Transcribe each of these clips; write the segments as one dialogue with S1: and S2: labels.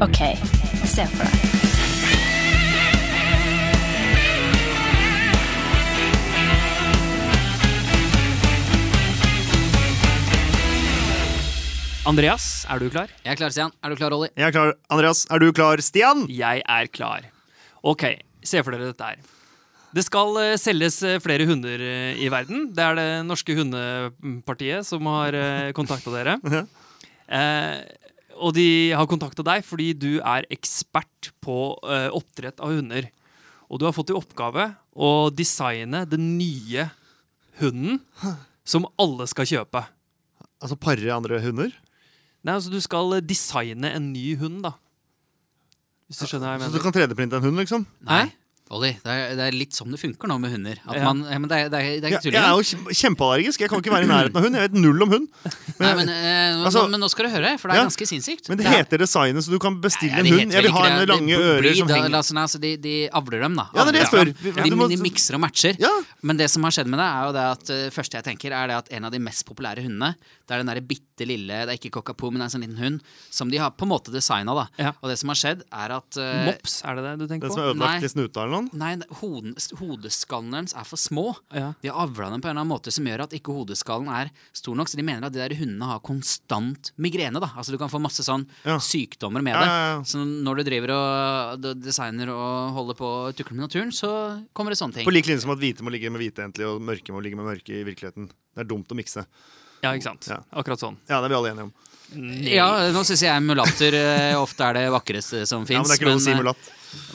S1: OK, se for deg.
S2: Andreas, er du klar?
S3: Jeg er klar, Stian. Er du klar, Olli?
S4: Jeg er klar. Andreas, er du klar, Stian?
S2: Jeg er klar. Ok, se for dere dette her. Det skal eh, selges eh, flere hunder eh, i verden. Det er det norske hundepartiet som har kontakta dere. Eh, og de har kontakta deg fordi du er ekspert på eh, oppdrett av hunder. Og du har fått i oppgave å designe den nye hunden som alle skal kjøpe.
S4: Altså pare andre hunder?
S2: Nei, altså Du skal eh, designe en ny hund, da. Hvis du skjønner hva jeg
S4: Så
S2: mener.
S4: du kan 3D-printe en hund, liksom?
S2: Nei?
S3: Olli, det er, det er litt sånn det funker nå med hunder. At
S2: Ja.
S3: man, ja, men det er, det er, det er
S4: Jeg,
S3: ikke
S4: jeg
S3: tulling.
S4: er jo kjem- kjempeallergisk. Jeg kan ikke være i nærheten av hund. Jeg vet null om hund.
S3: Nei, men, eh, nå-
S4: Altså-
S3: men nå skal du høre, for det er
S4: Ja.
S3: ganske sinnssykt.
S4: Men det
S3: Det er-
S4: heter designet, så du kan bestille
S3: Nei,
S4: en
S3: de
S4: hund.
S3: heter
S4: Jeg
S3: vel
S4: vil
S3: ikke
S4: ha en
S3: det.
S4: med lange
S3: Breed,
S4: ører som
S3: da,
S4: henger
S3: la oss- altså, de, de avler dem, da.
S4: Ja, det er det jeg
S3: Avler
S4: spør.
S3: dem.
S4: Ja, du må-
S3: De, de mikser og matcher.
S4: Ja.
S3: Men det som har skjedd med det, er jo det at eh, første jeg tenker, er det at en av de mest populære hundene, det er den derre bitte lille, det er ikke cockapoo, men det er en sånn liten hund, som de har på en måte designa, da.
S2: Ja.
S3: Og det som har skjedd, er at eh,
S2: Mops, er det det du
S4: Den
S2: tenker
S4: som
S2: på?
S4: er
S3: Nei.
S4: ødelagt i snuta eller noe?
S3: Nei, hoden, hodeskallen deres er for små.
S2: Ja.
S3: De har avla dem på en eller annen måte som gjør at ikke hodeskallen er stor nok. Så de mener at de der hundene har konstant migrene. da. Altså Du kan få masse sånn
S4: Ja.
S3: sykdommer med
S4: Ja, ja, ja.
S3: det. Så når du driver og d- designer og holder på og tukler med naturen, så kommer det sånne ting.
S4: På lik linje som at hvite må ligge med hvite egentlig, og mørke må ligge med mørke i virkeligheten. Det er dumt å mikse.
S2: Ja, ikke sant.
S4: Ja.
S2: Akkurat sånn.
S4: Ja, det er vi alle enige om.
S3: ja, nå syns jeg mulatter eh, ofte er det vakreste som fins.
S4: Ja, men det er ikke lov å si
S3: eh,
S4: mulatt.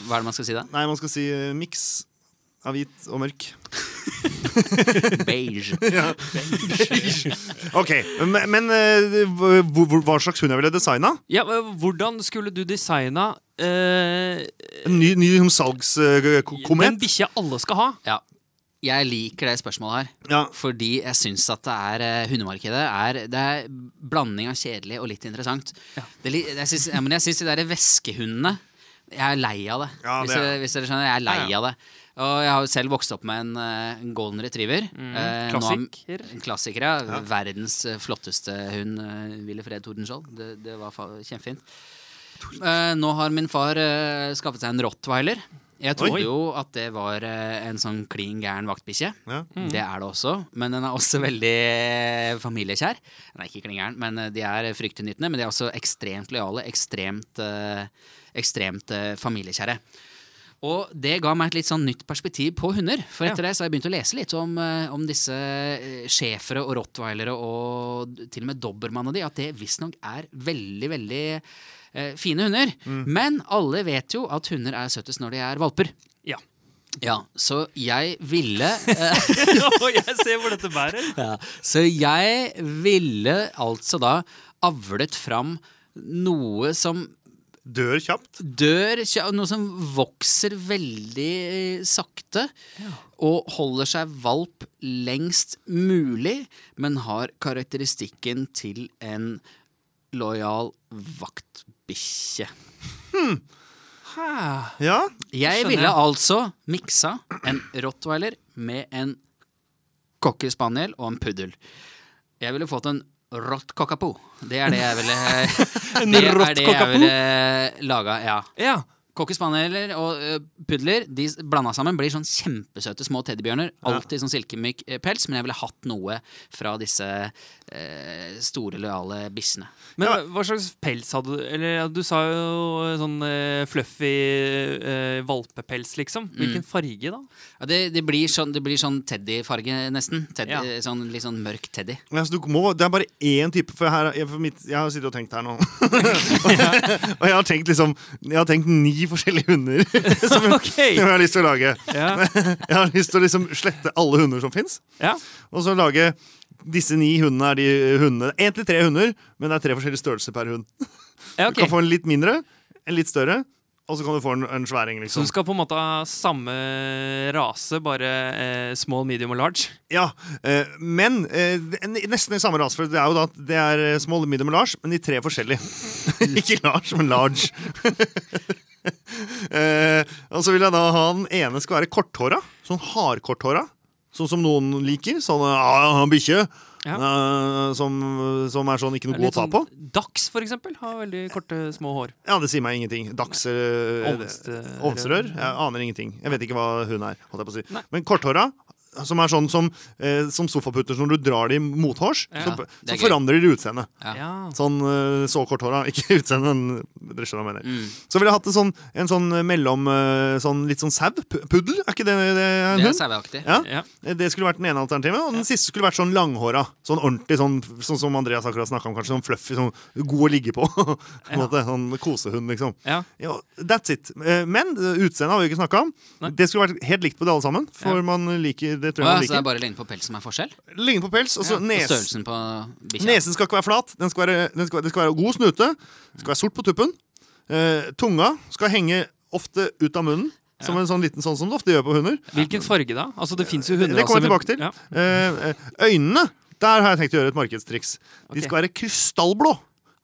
S3: Hva er det man skal si da?
S4: Nei, man skal si eh, miks av hvit og mørk.
S3: Beige.
S4: Ok, Men, men eh, hvor- hvor- hva slags hund jeg ville designa?
S2: Ja, men Hvordan skulle du designa eh,
S4: En ny, ny liksom, salgskomet?
S2: den bikkja alle skal ha?
S3: Ja. Jeg liker det spørsmålet her.
S4: ja.
S3: Fordi jeg syns at det er eh, hundemarkedet er, Det er blanding av kjedelig og litt interessant. Det, li- jeg syns, ja, men jeg syns de der veskehundene Jeg er lei av det.
S4: Ja,
S3: hvis,
S4: det er-
S3: dere, hvis dere skjønner, jeg er lei
S2: Ja, ja.
S3: av det. Og jeg har jo selv vokst opp med en, eh, en golden retriever. Eh, nå har-
S2: klassiker.
S3: en klassiker, ja. Verdens eh, flotteste hund, eh, Ville Fred Tordenskjold. Det, det var fa kjempefint. Eh, nå har min far eh, skaffet seg en rottweiler. Jeg trodde
S4: Oi.
S3: jo at det var eh, en sånn klin gæren vaktbikkje.
S4: Ja.
S3: Det er det også, men den er også veldig eh, familiekjær. Den er ikke klin gæren, men eh, de er fryktinngytende. Men de er også ekstremt lojale, ekstremt, eh, ekstremt eh, familiekjære. Og det ga meg et litt sånn nytt perspektiv på hunder. For etter det så har jeg begynt å lese litt om, eh, om disse eh, schæfere og rottweilere og d- til og med dobbermann og de, at det visstnok er veldig, veldig eh, fine hunder. Men alle vet jo at hunder er søttest når de er valper.
S2: Ja.
S3: Ja, så jeg ville eh,
S2: Og jeg ser hvor dette bærer.
S3: ja. Så jeg ville altså da avlet fram noe som
S4: Dør kjapt.
S3: dør, kja- noe som vokser veldig eh, sakte, og holder seg valp lengst mulig, men har karakteristikken til en lojal vaktbikkje.
S4: Ja.
S3: Jeg ville altså miksa en rottweiler med en cocker spaniel og en puddel. Jeg ville fått en rått cockapoo. Det er det jeg ville En
S2: rått cockapoo?
S3: eh, laga, ja.
S2: Ja.
S3: Cocker spanieler og eh, pudler de s- blanda sammen blir sånn kjempesøte små teddybjørner. Alltid sånn silkemyk eh, pels, men jeg ville hatt noe fra disse eh, store, lojale bikkjene.
S2: Men hva slags pels hadde du? Eller ja, du sa jo eh, sånn eh, fluffy eh, valpepels, liksom. Hvilken farge, da?
S3: Ja, det, det blir sånn, det blir sånn teddyfarge, nesten. Teddy,
S2: Ja.
S3: sånn, litt sånn mørk teddy.
S4: Ja, så du må, det er bare én type For, her, jeg, for mitt, jeg har sittet og tenkt her nå. og jeg har tenkt liksom Jeg har tenkt ni forskjellige hunder som, som jeg
S2: Ok!
S4: har lyst til å lage.
S2: Ja.
S4: Jeg har lyst til å liksom slette alle hunder som fins,
S2: Ja.
S4: og så lage disse ni hundene er de hundene Egentlig tre hunder, men det er tre forskjellige størrelser per hund.
S2: ja,
S4: Du kan
S2: ok.
S4: få en litt mindre, en litt større, og så kan du få en, en sværing,
S2: Så
S4: liksom.
S2: du skal på en måte ha samme rase, bare eh, small, medium og large?
S4: Ja, eh, men eh, det- n- nesten i samme ras, for det er jo da at det er eh, small, medium og large, men de tre forskjellige. Ikke large, men large. eh, og så vil jeg da ha den ene skal være korthåra, sånn hardkorthåra. Sånn som noen liker. Sånn ja, han eh, har bikkje. eh, som, som er sånn ikke noe god å
S2: Litt
S4: ta
S2: sånn-
S4: på.
S2: Dags, for eksempel, har veldig korte, små hår.
S4: Ja, det sier meg ingenting. Dags... eh,
S2: Ovnste-
S4: Ovnsrør?
S3: Mm.
S4: Jeg aner ingenting. Jeg vet ikke hva hun er. Holdt jeg på å si. Men korthåra, som er sånn som, eh, som sofaputter når du drar dem mothårs,
S2: Ja,
S4: så,
S3: det er gøy.
S4: så forandrer de utseende.
S3: Ja.
S2: Ja.
S4: Sånn eh, så korthåra, ikke utseende, men dere skjønner hva jeg mener.
S3: Mm.
S4: Så ville jeg hatt en sånn, en sånn mellom eh, sånn, Litt sånn sau? Pu- Puddel? Er ikke det, det er
S3: Det
S4: en
S3: er
S4: hund?
S3: saueaktig.
S4: Mhm. Ja.
S2: Ja.
S4: Det skulle vært den ene alternativet. Og den siste skulle vært sånn langhåra. Sånn ordentlig, sånn, sånn som Andreas akkurat snakka om, kanskje. Sånn fluffy, sånn god å ligge på. på en måte, sånn kosehund, liksom.
S2: Ja.
S4: Ja, that's it. Eh, Men eh, utseendet har vi ikke snakka om.
S2: Nei.
S4: Det skulle vært helt likt på det alle sammen. For
S2: Ja.
S4: man liker
S3: Å
S4: det tror jeg
S3: ja, så
S4: man
S3: det er
S4: liker.
S3: bare lengden på pelsen som er forskjell?
S4: Ligner på pels. Og så
S3: Ja,
S4: nes-
S3: Og størrelsen på bikkja.
S4: Nesen skal ikke være flat. Den skal være, den skal, det skal være god snute. Det skal være sort på tuppen. Eh, tunga skal henge ofte ut av munnen. Som en sånn liten sånn som det ofte gjør på hunder.
S2: Hvilken farge, da? Altså, det fins jo hunder
S4: Det kommer jeg
S2: altså,
S4: tilbake
S2: med-
S4: til. Eh, eh, øynene, der har jeg tenkt å gjøre et markedstriks.
S2: Ok.
S4: De skal være krystallblå.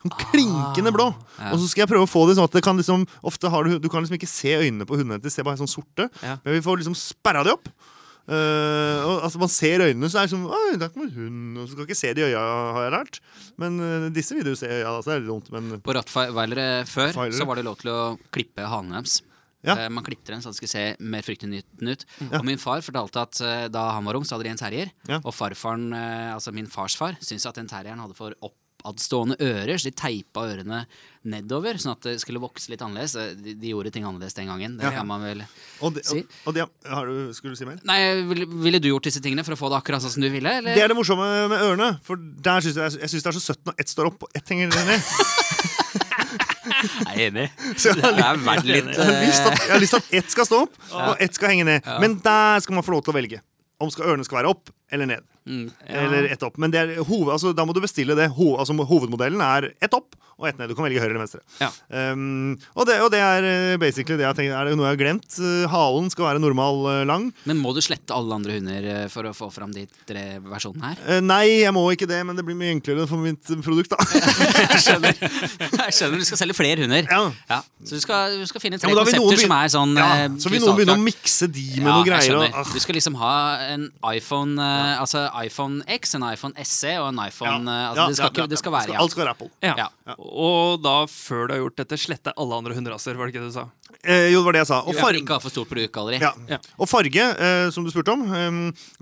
S4: Sånn klinkende blå.
S2: Ah,
S3: ja.
S4: Og så skal jeg prøve å få det sånn at det kan liksom, ofte har du, du kan liksom ikke se øynene på hundene. De ser bare sånn sorte.
S2: Ja.
S4: Men vi får liksom sperra de opp. Eh, og, altså Man ser øynene, så er det liksom Oi, der kommer hunden. Og så skal ikke se de øya, har jeg lært. Men eh, disse vil du se i øya, da, så det er litt dumt. Men
S3: På Rottweilere før
S4: Rottweilere.
S3: så var det lov til å klippe hanene deres.
S4: Ja. Mm.
S3: Eh, Man klippet dem så det skulle se mer fryktinngytende ut. Og min far fortalte at eh, da han var ung, så hadde de en terrier.
S4: Ja.
S3: Og farfaren, eh, altså min fars far, syntes at den terrieren hadde for oppadstående ører, så de teipa ørene nedover, sånn at det skulle vokse litt annerledes. Eh, De, de gjorde ting annerledes den gangen. Det
S4: Ja.
S3: kan man vel
S4: Og, det-
S3: Si.
S4: og, og det, har du, Skulle du si mer?
S3: Nei, ville, ville du gjort disse tingene for å få det akkurat sånn som du ville? Eller?
S4: Det er det morsomme med ørene. For der synes jeg, jeg synes det er så søtt når ett står opp og ett henger ned.
S3: Jeg er enig.
S4: Så jeg har
S3: Det er verdt litt
S4: Jeg har lyst til
S3: eh,
S4: at, jeg har lyst til at ett skal stå opp, og ett skal henge ned. Men der skal man få lov til å velge. Om skal ørene skal være opp eller ned.
S3: mm.
S4: Eller ett opp. Men det er hoved, altså, da må du bestille det. Ho- altså, hovedmodellen er ett opp og ett ned. Du kan velge høyre eller venstre.
S2: Ja.
S4: Um, og, det, og det er eh, basically det jeg tenker. Er det noe jeg har glemt? Eh, Halen skal være normal eh, lang.
S3: Men må du slette alle andre hunder eh, for å få fram de tre versjonene her?
S4: Eh, nei, jeg må ikke det, men det blir mye enklere for mitt eh, produkt, da.
S3: Jeg skjønner. Jeg skjønner du skal selge flere hunder.
S4: Ja.
S3: Så du skal, du skal finne
S4: Ja,
S3: tre
S4: men da vil noen
S3: konsepter som
S4: begynne-
S3: er sånn
S4: ja,
S3: eh,
S4: så vil noen begynne å mikse de med noe
S3: jeg
S4: greier. Og,
S3: skjønner. Du skal liksom ha en iPhone eh, Altså iPhone X, en iPhone SE og en iPhone eh, altså, det, skal ikke, det skal være ja.
S4: Alt skal være Apple.
S2: Ja.
S3: Ja.
S2: Og da, før du har gjort dette, slette alle andre hunderaser, var det ikke det du sa?
S4: Eh, jo, det var det jeg sa. Og
S3: Du skal ikke ha for stort produktgalleri.
S4: Ja.
S2: Ja.
S4: Og farge, eh, som du spurte om, ehm,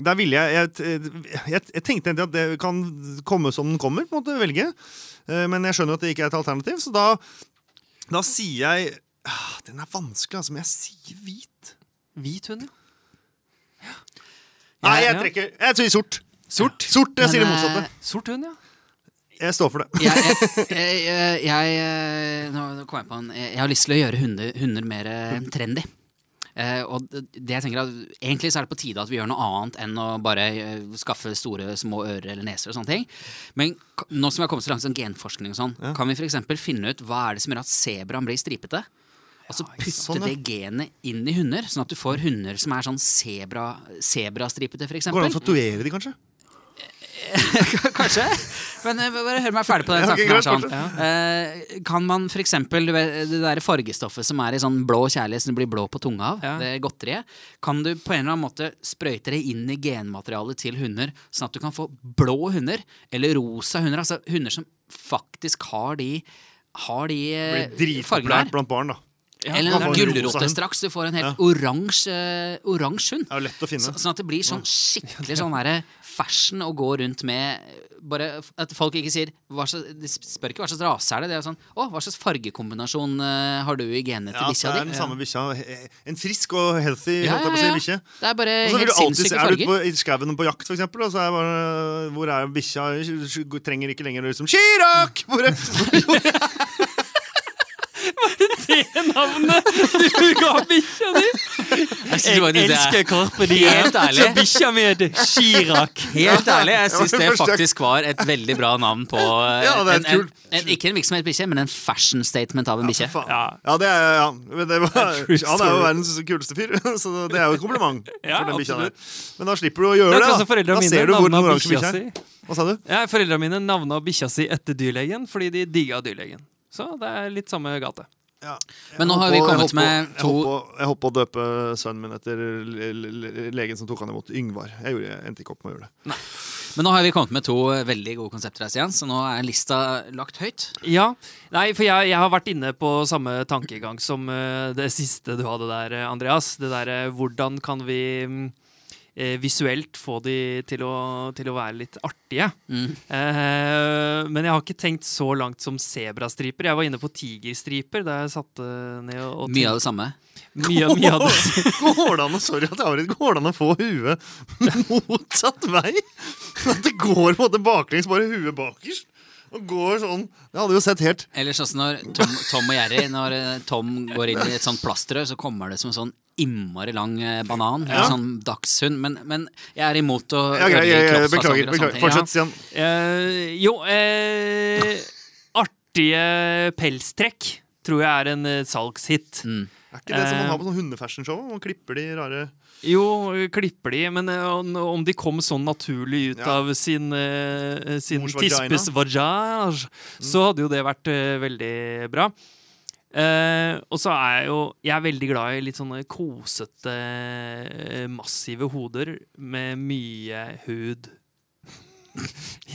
S4: der ville jeg jeg, jeg jeg tenkte egentlig at det kan komme som den kommer, på en måte, velge. Eh, men jeg skjønner at det ikke er et alternativ, så da, da sier jeg ah, Den er vanskelig, altså, men jeg sier hvit.
S2: Hvit hund, ja.
S4: Nei, jeg
S2: ja.
S4: trekker Jeg sier sort.
S2: Sort?
S4: Sort, Jeg
S3: Men,
S4: sier det
S3: eh,
S4: motsatte.
S2: Sort hund, ja.
S4: Jeg står for det.
S3: jeg, jeg, jeg, jeg, eh, Nå nå kom jeg på en Jeg jeg har lyst til å gjøre hunder, hunder mer eh,
S4: Mm.
S3: trendy. Eh, og det det jeg tenker er at Egentlig så er det på tide at vi gjør noe annet enn å bare eh, skaffe store, små ører eller neser. og sånne ting Men k- nå som vi har kommet så langt som genforskning, og sånn kan vi for eksempel finne ut hva er det som gjør at sebraen blir stripete? Og så putte
S4: sant. Sånn, ja.
S3: det genet inn i hunder, sånn at du får hunder som er sånn sebra- sebrastripete, for eksempel.
S4: Går det an
S3: eh,
S4: å tatuere de, kanskje?
S3: Kanskje. Men eh, bare hør meg ferdig på den
S4: Ja, ok,
S3: tanken. her
S4: greit,
S3: sånn. Eh, Kan man for eksempel du vet, det der fargestoffet som er i sånn blå kjærlighet som du blir blå på tunga av,
S2: Ja.
S3: det godteriet, kan du på en eller annen måte sprøyte det inn i genmaterialet til hunder, sånn at du kan få blå hunder, eller rosa hunder, altså hunder som faktisk har de har de eh,
S4: Blir
S3: fargene
S4: dritpopulært
S3: her.
S4: blant barn, da.
S3: Eller
S4: man
S3: en
S4: får en rosa
S3: gulrote
S4: hund.
S3: straks. Du får en helt
S4: Ja.
S3: oransje eh, oransje hund.
S4: Det er jo lett å
S3: Så,
S4: finne.
S3: sånn at det blir sånn skikkelig sånn derre fashion å gå rundt med Bare f- at folk ikke sier hva slags, De spør ikke hva slags rase er det. Det er jo sånn Å, hva slags fargekombinasjon eh, har du i genene
S4: Ja,
S3: til
S4: det
S3: bikkja
S4: er
S3: di?
S4: den samme bikkja. eh, En frisk og healthy
S3: Ja,
S4: holdt jeg
S3: ja,
S4: på å
S3: ja.
S4: si, bikkje.
S3: Det er bare
S4: Og så vil
S3: helt
S4: du alltid se-
S3: sinnssyke
S4: Er du
S3: farger.
S4: på, i skauen på jakt, for eksempel, og så er bare Hvor er bikkja? Trenger ikke lenger å liksom Chirag! Hvor er
S2: Det navnet du ga bikkja di!
S3: Jeg synes det var nydelig, jeg.
S2: Carpe
S3: Helt ærlig.
S2: bikkja mi heter Chirag.
S3: Helt ærlig, jeg
S4: Det var
S3: syns det
S4: første-
S3: faktisk var et veldig bra navn på eh,
S4: Ja, det er
S3: en, en,
S4: kult.
S3: en, Ikke en virksomhetsbikkje, men en fashion statement av en bikkje.
S4: Faen.
S2: Ja.
S4: Ja, det er, ja. Men det var,
S2: true
S4: han er jo
S2: story.
S4: verdens kuleste fyr, så det er jo et kompliment.
S2: Ja,
S4: for den bikkja
S2: absolutt.
S4: der. Men da slipper du å gjøre
S2: Det
S4: det.
S2: er akkurat som
S4: Da,
S2: foreldrene
S4: da
S2: mine
S4: ser du hvor den
S2: navnet
S4: oransje
S2: bikkja
S4: bikkja er. Hva sa du?
S2: Ja, Foreldrene mine navna bikkja si etter dyrlegen fordi de digga dyrlegen. Så det er litt samme gate.
S4: Ja.
S3: Men nå
S4: Jeg
S3: har vi
S4: holdt på-
S3: kommet med
S4: jeg holdt på- Jeg
S3: to-
S4: holdt på- jeg holdt på å døpe sønnen min etter l- l- l- legen som tok han imot, Yngvar. Jeg, gjorde, jeg endte ikke opp med å gjøre det.
S3: Men nå har vi kommet med to eh, veldig gode konsepter, her, Stian, så nå er lista lagt høyt.
S2: Ja, nei, for jeg, jeg har vært inne på samme tankegang som eh, det siste du hadde der, eh, Andreas. Det derre hvordan kan vi mm, eh, visuelt få de til å, til å være litt artige. Eh, men jeg har ikke tenkt så langt som sebrastriper. Jeg var inne på tigerstriper da jeg satte ned og, og
S3: Mye av det samme.
S2: tenkte- mye, mye av det.
S4: Går det an å sorry at jeg avbryter, går det an å få huet motsatt vei? At det går på en måte baklengs, bare huet bakerst? Og går sånn Det hadde jo sett helt
S3: Eller sånn som når Tom, Tom og Jerry Når eh, Tom går inn i et sånt plastrør, så kommer det som en sånn innmari lang eh, banan.
S4: Ja.
S3: En sånn dagshund. Men, men jeg er imot å
S4: ja, greit, jeg, jeg,
S3: kroppsfasonger og
S4: Beklager.
S3: sånne
S4: beklager.
S3: ting.
S4: Fortsett, Stian.
S2: Eh, jo, eh, artige pelstrekk tror jeg er en eh, salgshit.
S3: Ja. Mm.
S4: Er ikke det som man har på sånn hundefashionshow? Man klipper de rare
S2: Jo, klipper de, men eh, om- om de kom sånn naturlig ut
S4: Ja.
S2: av sin, eh, sin
S4: Mors vagina. Mm.
S2: tispes vajaj, så hadde jo det vært eh, veldig bra. Eh, og så er jeg jo Jeg er veldig glad i litt sånne kosete, eh, massive hoder med mye hud.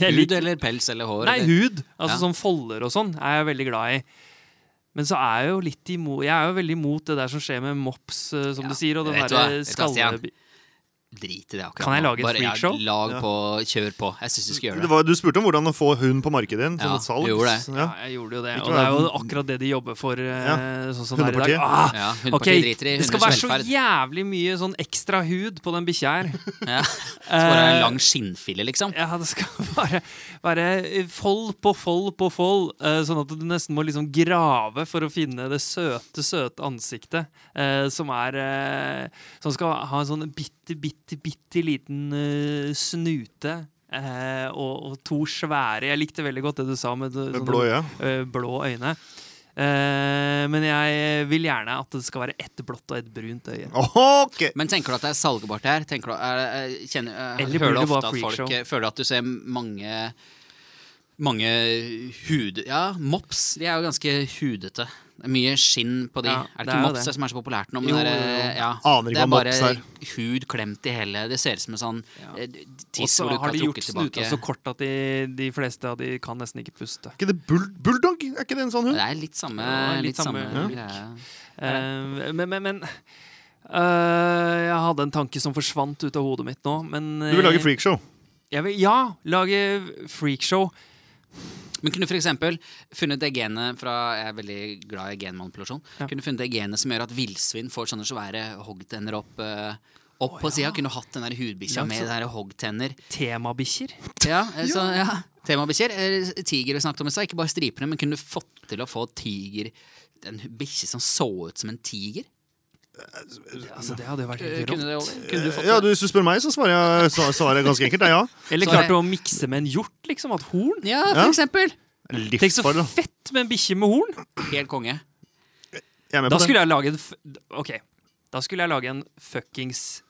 S2: Jeg
S3: Mm. Hud
S2: liker-
S3: eller pels eller hår.
S2: Nei,
S3: eller-
S2: hud. Altså
S3: Ja.
S2: sånn folder og sånn er jeg veldig glad i. Men så er jeg jo litt imot Jeg er jo veldig imot det der som skjer med mops, eh, som
S3: Ja,
S2: du sier, og den
S3: vet du
S2: derre
S3: hva? Vet du hva, Stian?
S2: skalle...
S3: Drit i det akkurat
S2: Kan jeg
S3: nå.
S2: lage et
S3: Bare, ja,
S2: freakshow?
S3: Lag
S4: Ja.
S3: på, kjør på. Jeg syns du skal gjøre
S4: det
S3: det.
S4: var, Du spurte om hvordan å få hund på markedet igjen. Som
S3: Ja,
S4: et salg.
S3: jeg gjorde
S4: Ja.
S2: Ja, jeg gjorde jo det.
S4: Ikke
S2: Og det er jo
S4: verden.
S2: akkurat det de jobber for. eh,
S4: Ja.
S2: Sånn som det er i
S4: Hundepartiet.
S2: dag. Ah,
S3: Ja,
S2: ok,
S3: Hundepartiet driter i
S2: Det skal
S3: hunders
S2: være så
S3: velferd.
S2: jævlig mye sånn ekstra hud på den bikkja her.
S3: Ja. Så bare
S2: Eh,
S3: en lang skinnfille, liksom.
S2: Ja, det skal bare være fold på fold på fold, eh, sånn at du nesten må liksom grave for å finne det søte, søte ansiktet eh, som er eh, Som skal ha en sånn bitte, bitte, bitte liten eh, snute. eh, og, og to svære Jeg likte veldig godt det du sa med,
S4: Med blå øye.
S2: eh, blå øyne. Eh, men jeg vil gjerne at det skal være ett blått og ett brunt øye.
S4: Ok!
S3: Men tenker du at det er salgbart her? Tenker du, er, er, kjenner, er,
S2: Eller burde
S3: hører du
S2: det
S3: ofte
S2: bare
S3: at folk
S2: freakshow?
S3: eh, føler at du ser mange mange hud... Ja, mops. De er jo ganske hudete. Det er mye skinn på de.
S2: Ja,
S3: er
S2: det
S3: det
S2: er
S3: ikke
S2: jo
S3: mops
S2: det.
S3: som er så populært nå?
S2: Jo,
S3: Men det er,
S2: jo, jo.
S3: eh, ja,
S4: Aner ikke
S3: det
S4: hva
S3: er bare
S4: mops er.
S3: hud klemt i hele Det ser ut som en sånn eh,
S2: Og
S3: tiss
S2: så
S3: hvor du
S2: har
S3: kan
S2: de gjort
S3: trukke
S2: snuta
S3: tilbake.
S2: så kort at de, de fleste av de kan nesten ikke puste.
S4: Er ikke det bull, bulldog? Er ikke det en sånn hund?
S3: Det er litt samme,
S2: Ja, litt
S3: litt samme,
S2: samme, ja.
S3: greie.
S2: Eh, men men, men eh, jeg hadde en tanke som forsvant ut av hodet mitt nå. Men,
S4: Du vil lage
S2: eh,
S4: freakshow?
S2: Jeg vil, ja, lage freakshow.
S3: Men kunne for eksempel funnet det genet fra Jeg er veldig glad i genmanipulasjon.
S2: Ja.
S3: Kunne funnet det genet som gjør at villsvin får sånne svære hoggtenner opp, eh, opp på sida. Kunne hatt den der hudbikkja
S2: Ja,
S3: med
S2: så-
S3: der hoggtenner.
S2: Temabikkjer.
S3: Ja, eh, så ja. Temabikkjer. eh, Tiger vi snakket om i stad. Ikke bare stripene, men kunne du fått til å få tiger En bikkje som så ut som en tiger?
S2: Altså, det hadde jo vært
S3: Eh,
S2: helt
S3: Kunne, det,
S2: rått.
S3: kunne du fått
S4: Ja, du, Hvis du spør meg, så svarer jeg svar- svaret ganske enkelt. Det er ja.
S2: Eller
S3: Så er
S2: klart å mikse med en hjort, liksom. At horn.
S3: ja, for
S4: Ja.
S3: eksempel.
S2: Tenk så
S4: Livsfarlig. da.
S2: fett med en bikkje med horn!
S3: Helt konge.
S4: Jeg er med
S2: Da
S4: på det.
S2: skulle jeg lage en f Ok, da skulle jeg lage en fuckings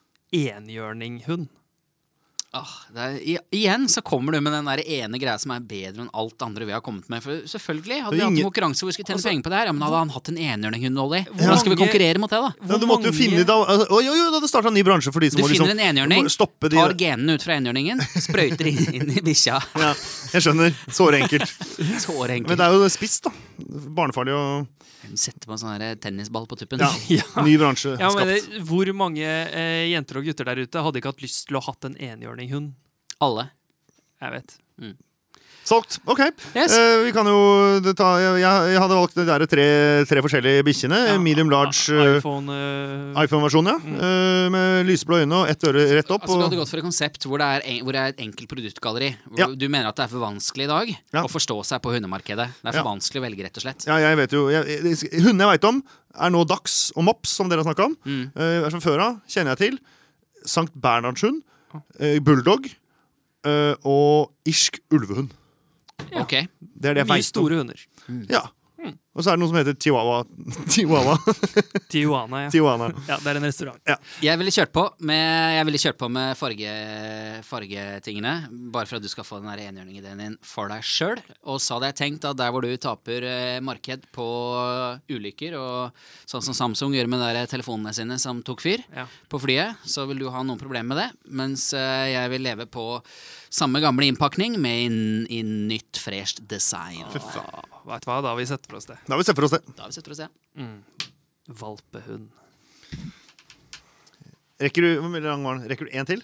S2: enhjørninghund.
S3: Ah, det er, i- igjen så kommer du med den der ene greia som er bedre enn alt det andre vi har kommet med. For selvfølgelig Hadde
S4: Det
S3: vi hatt en
S4: er ingen- Altså,
S3: konkurranse hvor vi skulle tjene penger på det her, ja, men hadde han hatt en enhjørninghund, Ollie?
S2: mange-
S3: Hvordan skal vi konkurrere mot det, da?
S4: Ja, du måtte jo finne da, altså, å, Jo, jo, da hadde starta en ny bransje for de som
S3: Du
S4: må liksom
S3: finner en enhjørning,
S4: må stoppe de
S3: tar genene ut fra enhjørningen, sprøyter inn, inn i bikkja.
S4: ja, Jeg skjønner. Såre enkelt. Men
S3: Sårenkelt.
S4: det er jo spiss, da. Barnefarlig og
S3: Hun setter på en sånn her tennisball på tuppen.
S4: Ja, ny bransje
S2: Ja, men
S4: skapt.
S2: det- Hvor mange eh, jenter og gutter der ute hadde ikke hatt lyst til å ha hatt en enhjørninghund?
S3: Alle.
S2: Jeg vet.
S4: Solgt. Ok.
S3: Yes.
S4: Eh, vi kan jo ta Jeg, jeg jeg hadde valgt de der tre, tre forskjellige bikkjene. Medium large
S2: i-
S4: eh,
S2: iPhone eh,
S4: iPhone-versjon, ja.
S3: Mm.
S4: Eh, med lyseblå øyne og ett øre rett opp.
S3: Altså, du
S4: og-
S3: hadde gått for et konsept hvor det er, en, hvor det er et enkelt produktgalleri. Hvor
S4: Ja.
S3: Du mener at det er for vanskelig i dag
S4: Ja.
S3: å forstå seg på hundemarkedet. Det er for
S4: Ja.
S3: vanskelig å velge, rett og slett.
S4: Ja, jeg vet jo jeg, jeg- Hundene jeg veit om, er nå Dax og Mops, som dere har snakka om.
S3: Mm.
S4: Eh, er fra før av kjenner jeg til. Sankt Bernhardshund, eh, bulldog eh, og irsk ulvehund.
S3: Ok.
S4: Det er det jeg Hmm.
S2: Mye
S4: vet om.
S2: store hunder.
S4: Ja. Og så er det noe som heter chihuahua. Chihuahua.
S2: Tijuana, ja.
S4: Tijuana.
S2: ja. Det er en restaurant.
S3: Jeg ville kjørt på med, jeg ville kjørt på med farge, fargetingene, bare for at du skal få den der enhjørningideen din for deg sjøl. Og så hadde jeg tenkt at der hvor du taper eh, marked på ulykker, og sånn som Samsung gjør med de der telefonene sine som tok fyr
S2: Ja.
S3: på flyet, så vil du ha noen problemer med det. Mens eh, jeg vil leve på samme gamle innpakning med inn, i nytt, fresht design.
S2: Vet du hva, da har vi sett for oss det.
S4: Da har vi sett for oss det.
S3: Da har vi sett for oss det.
S2: Valpehund.
S4: Rekker du hvor mye lang var den? Rekker du én til?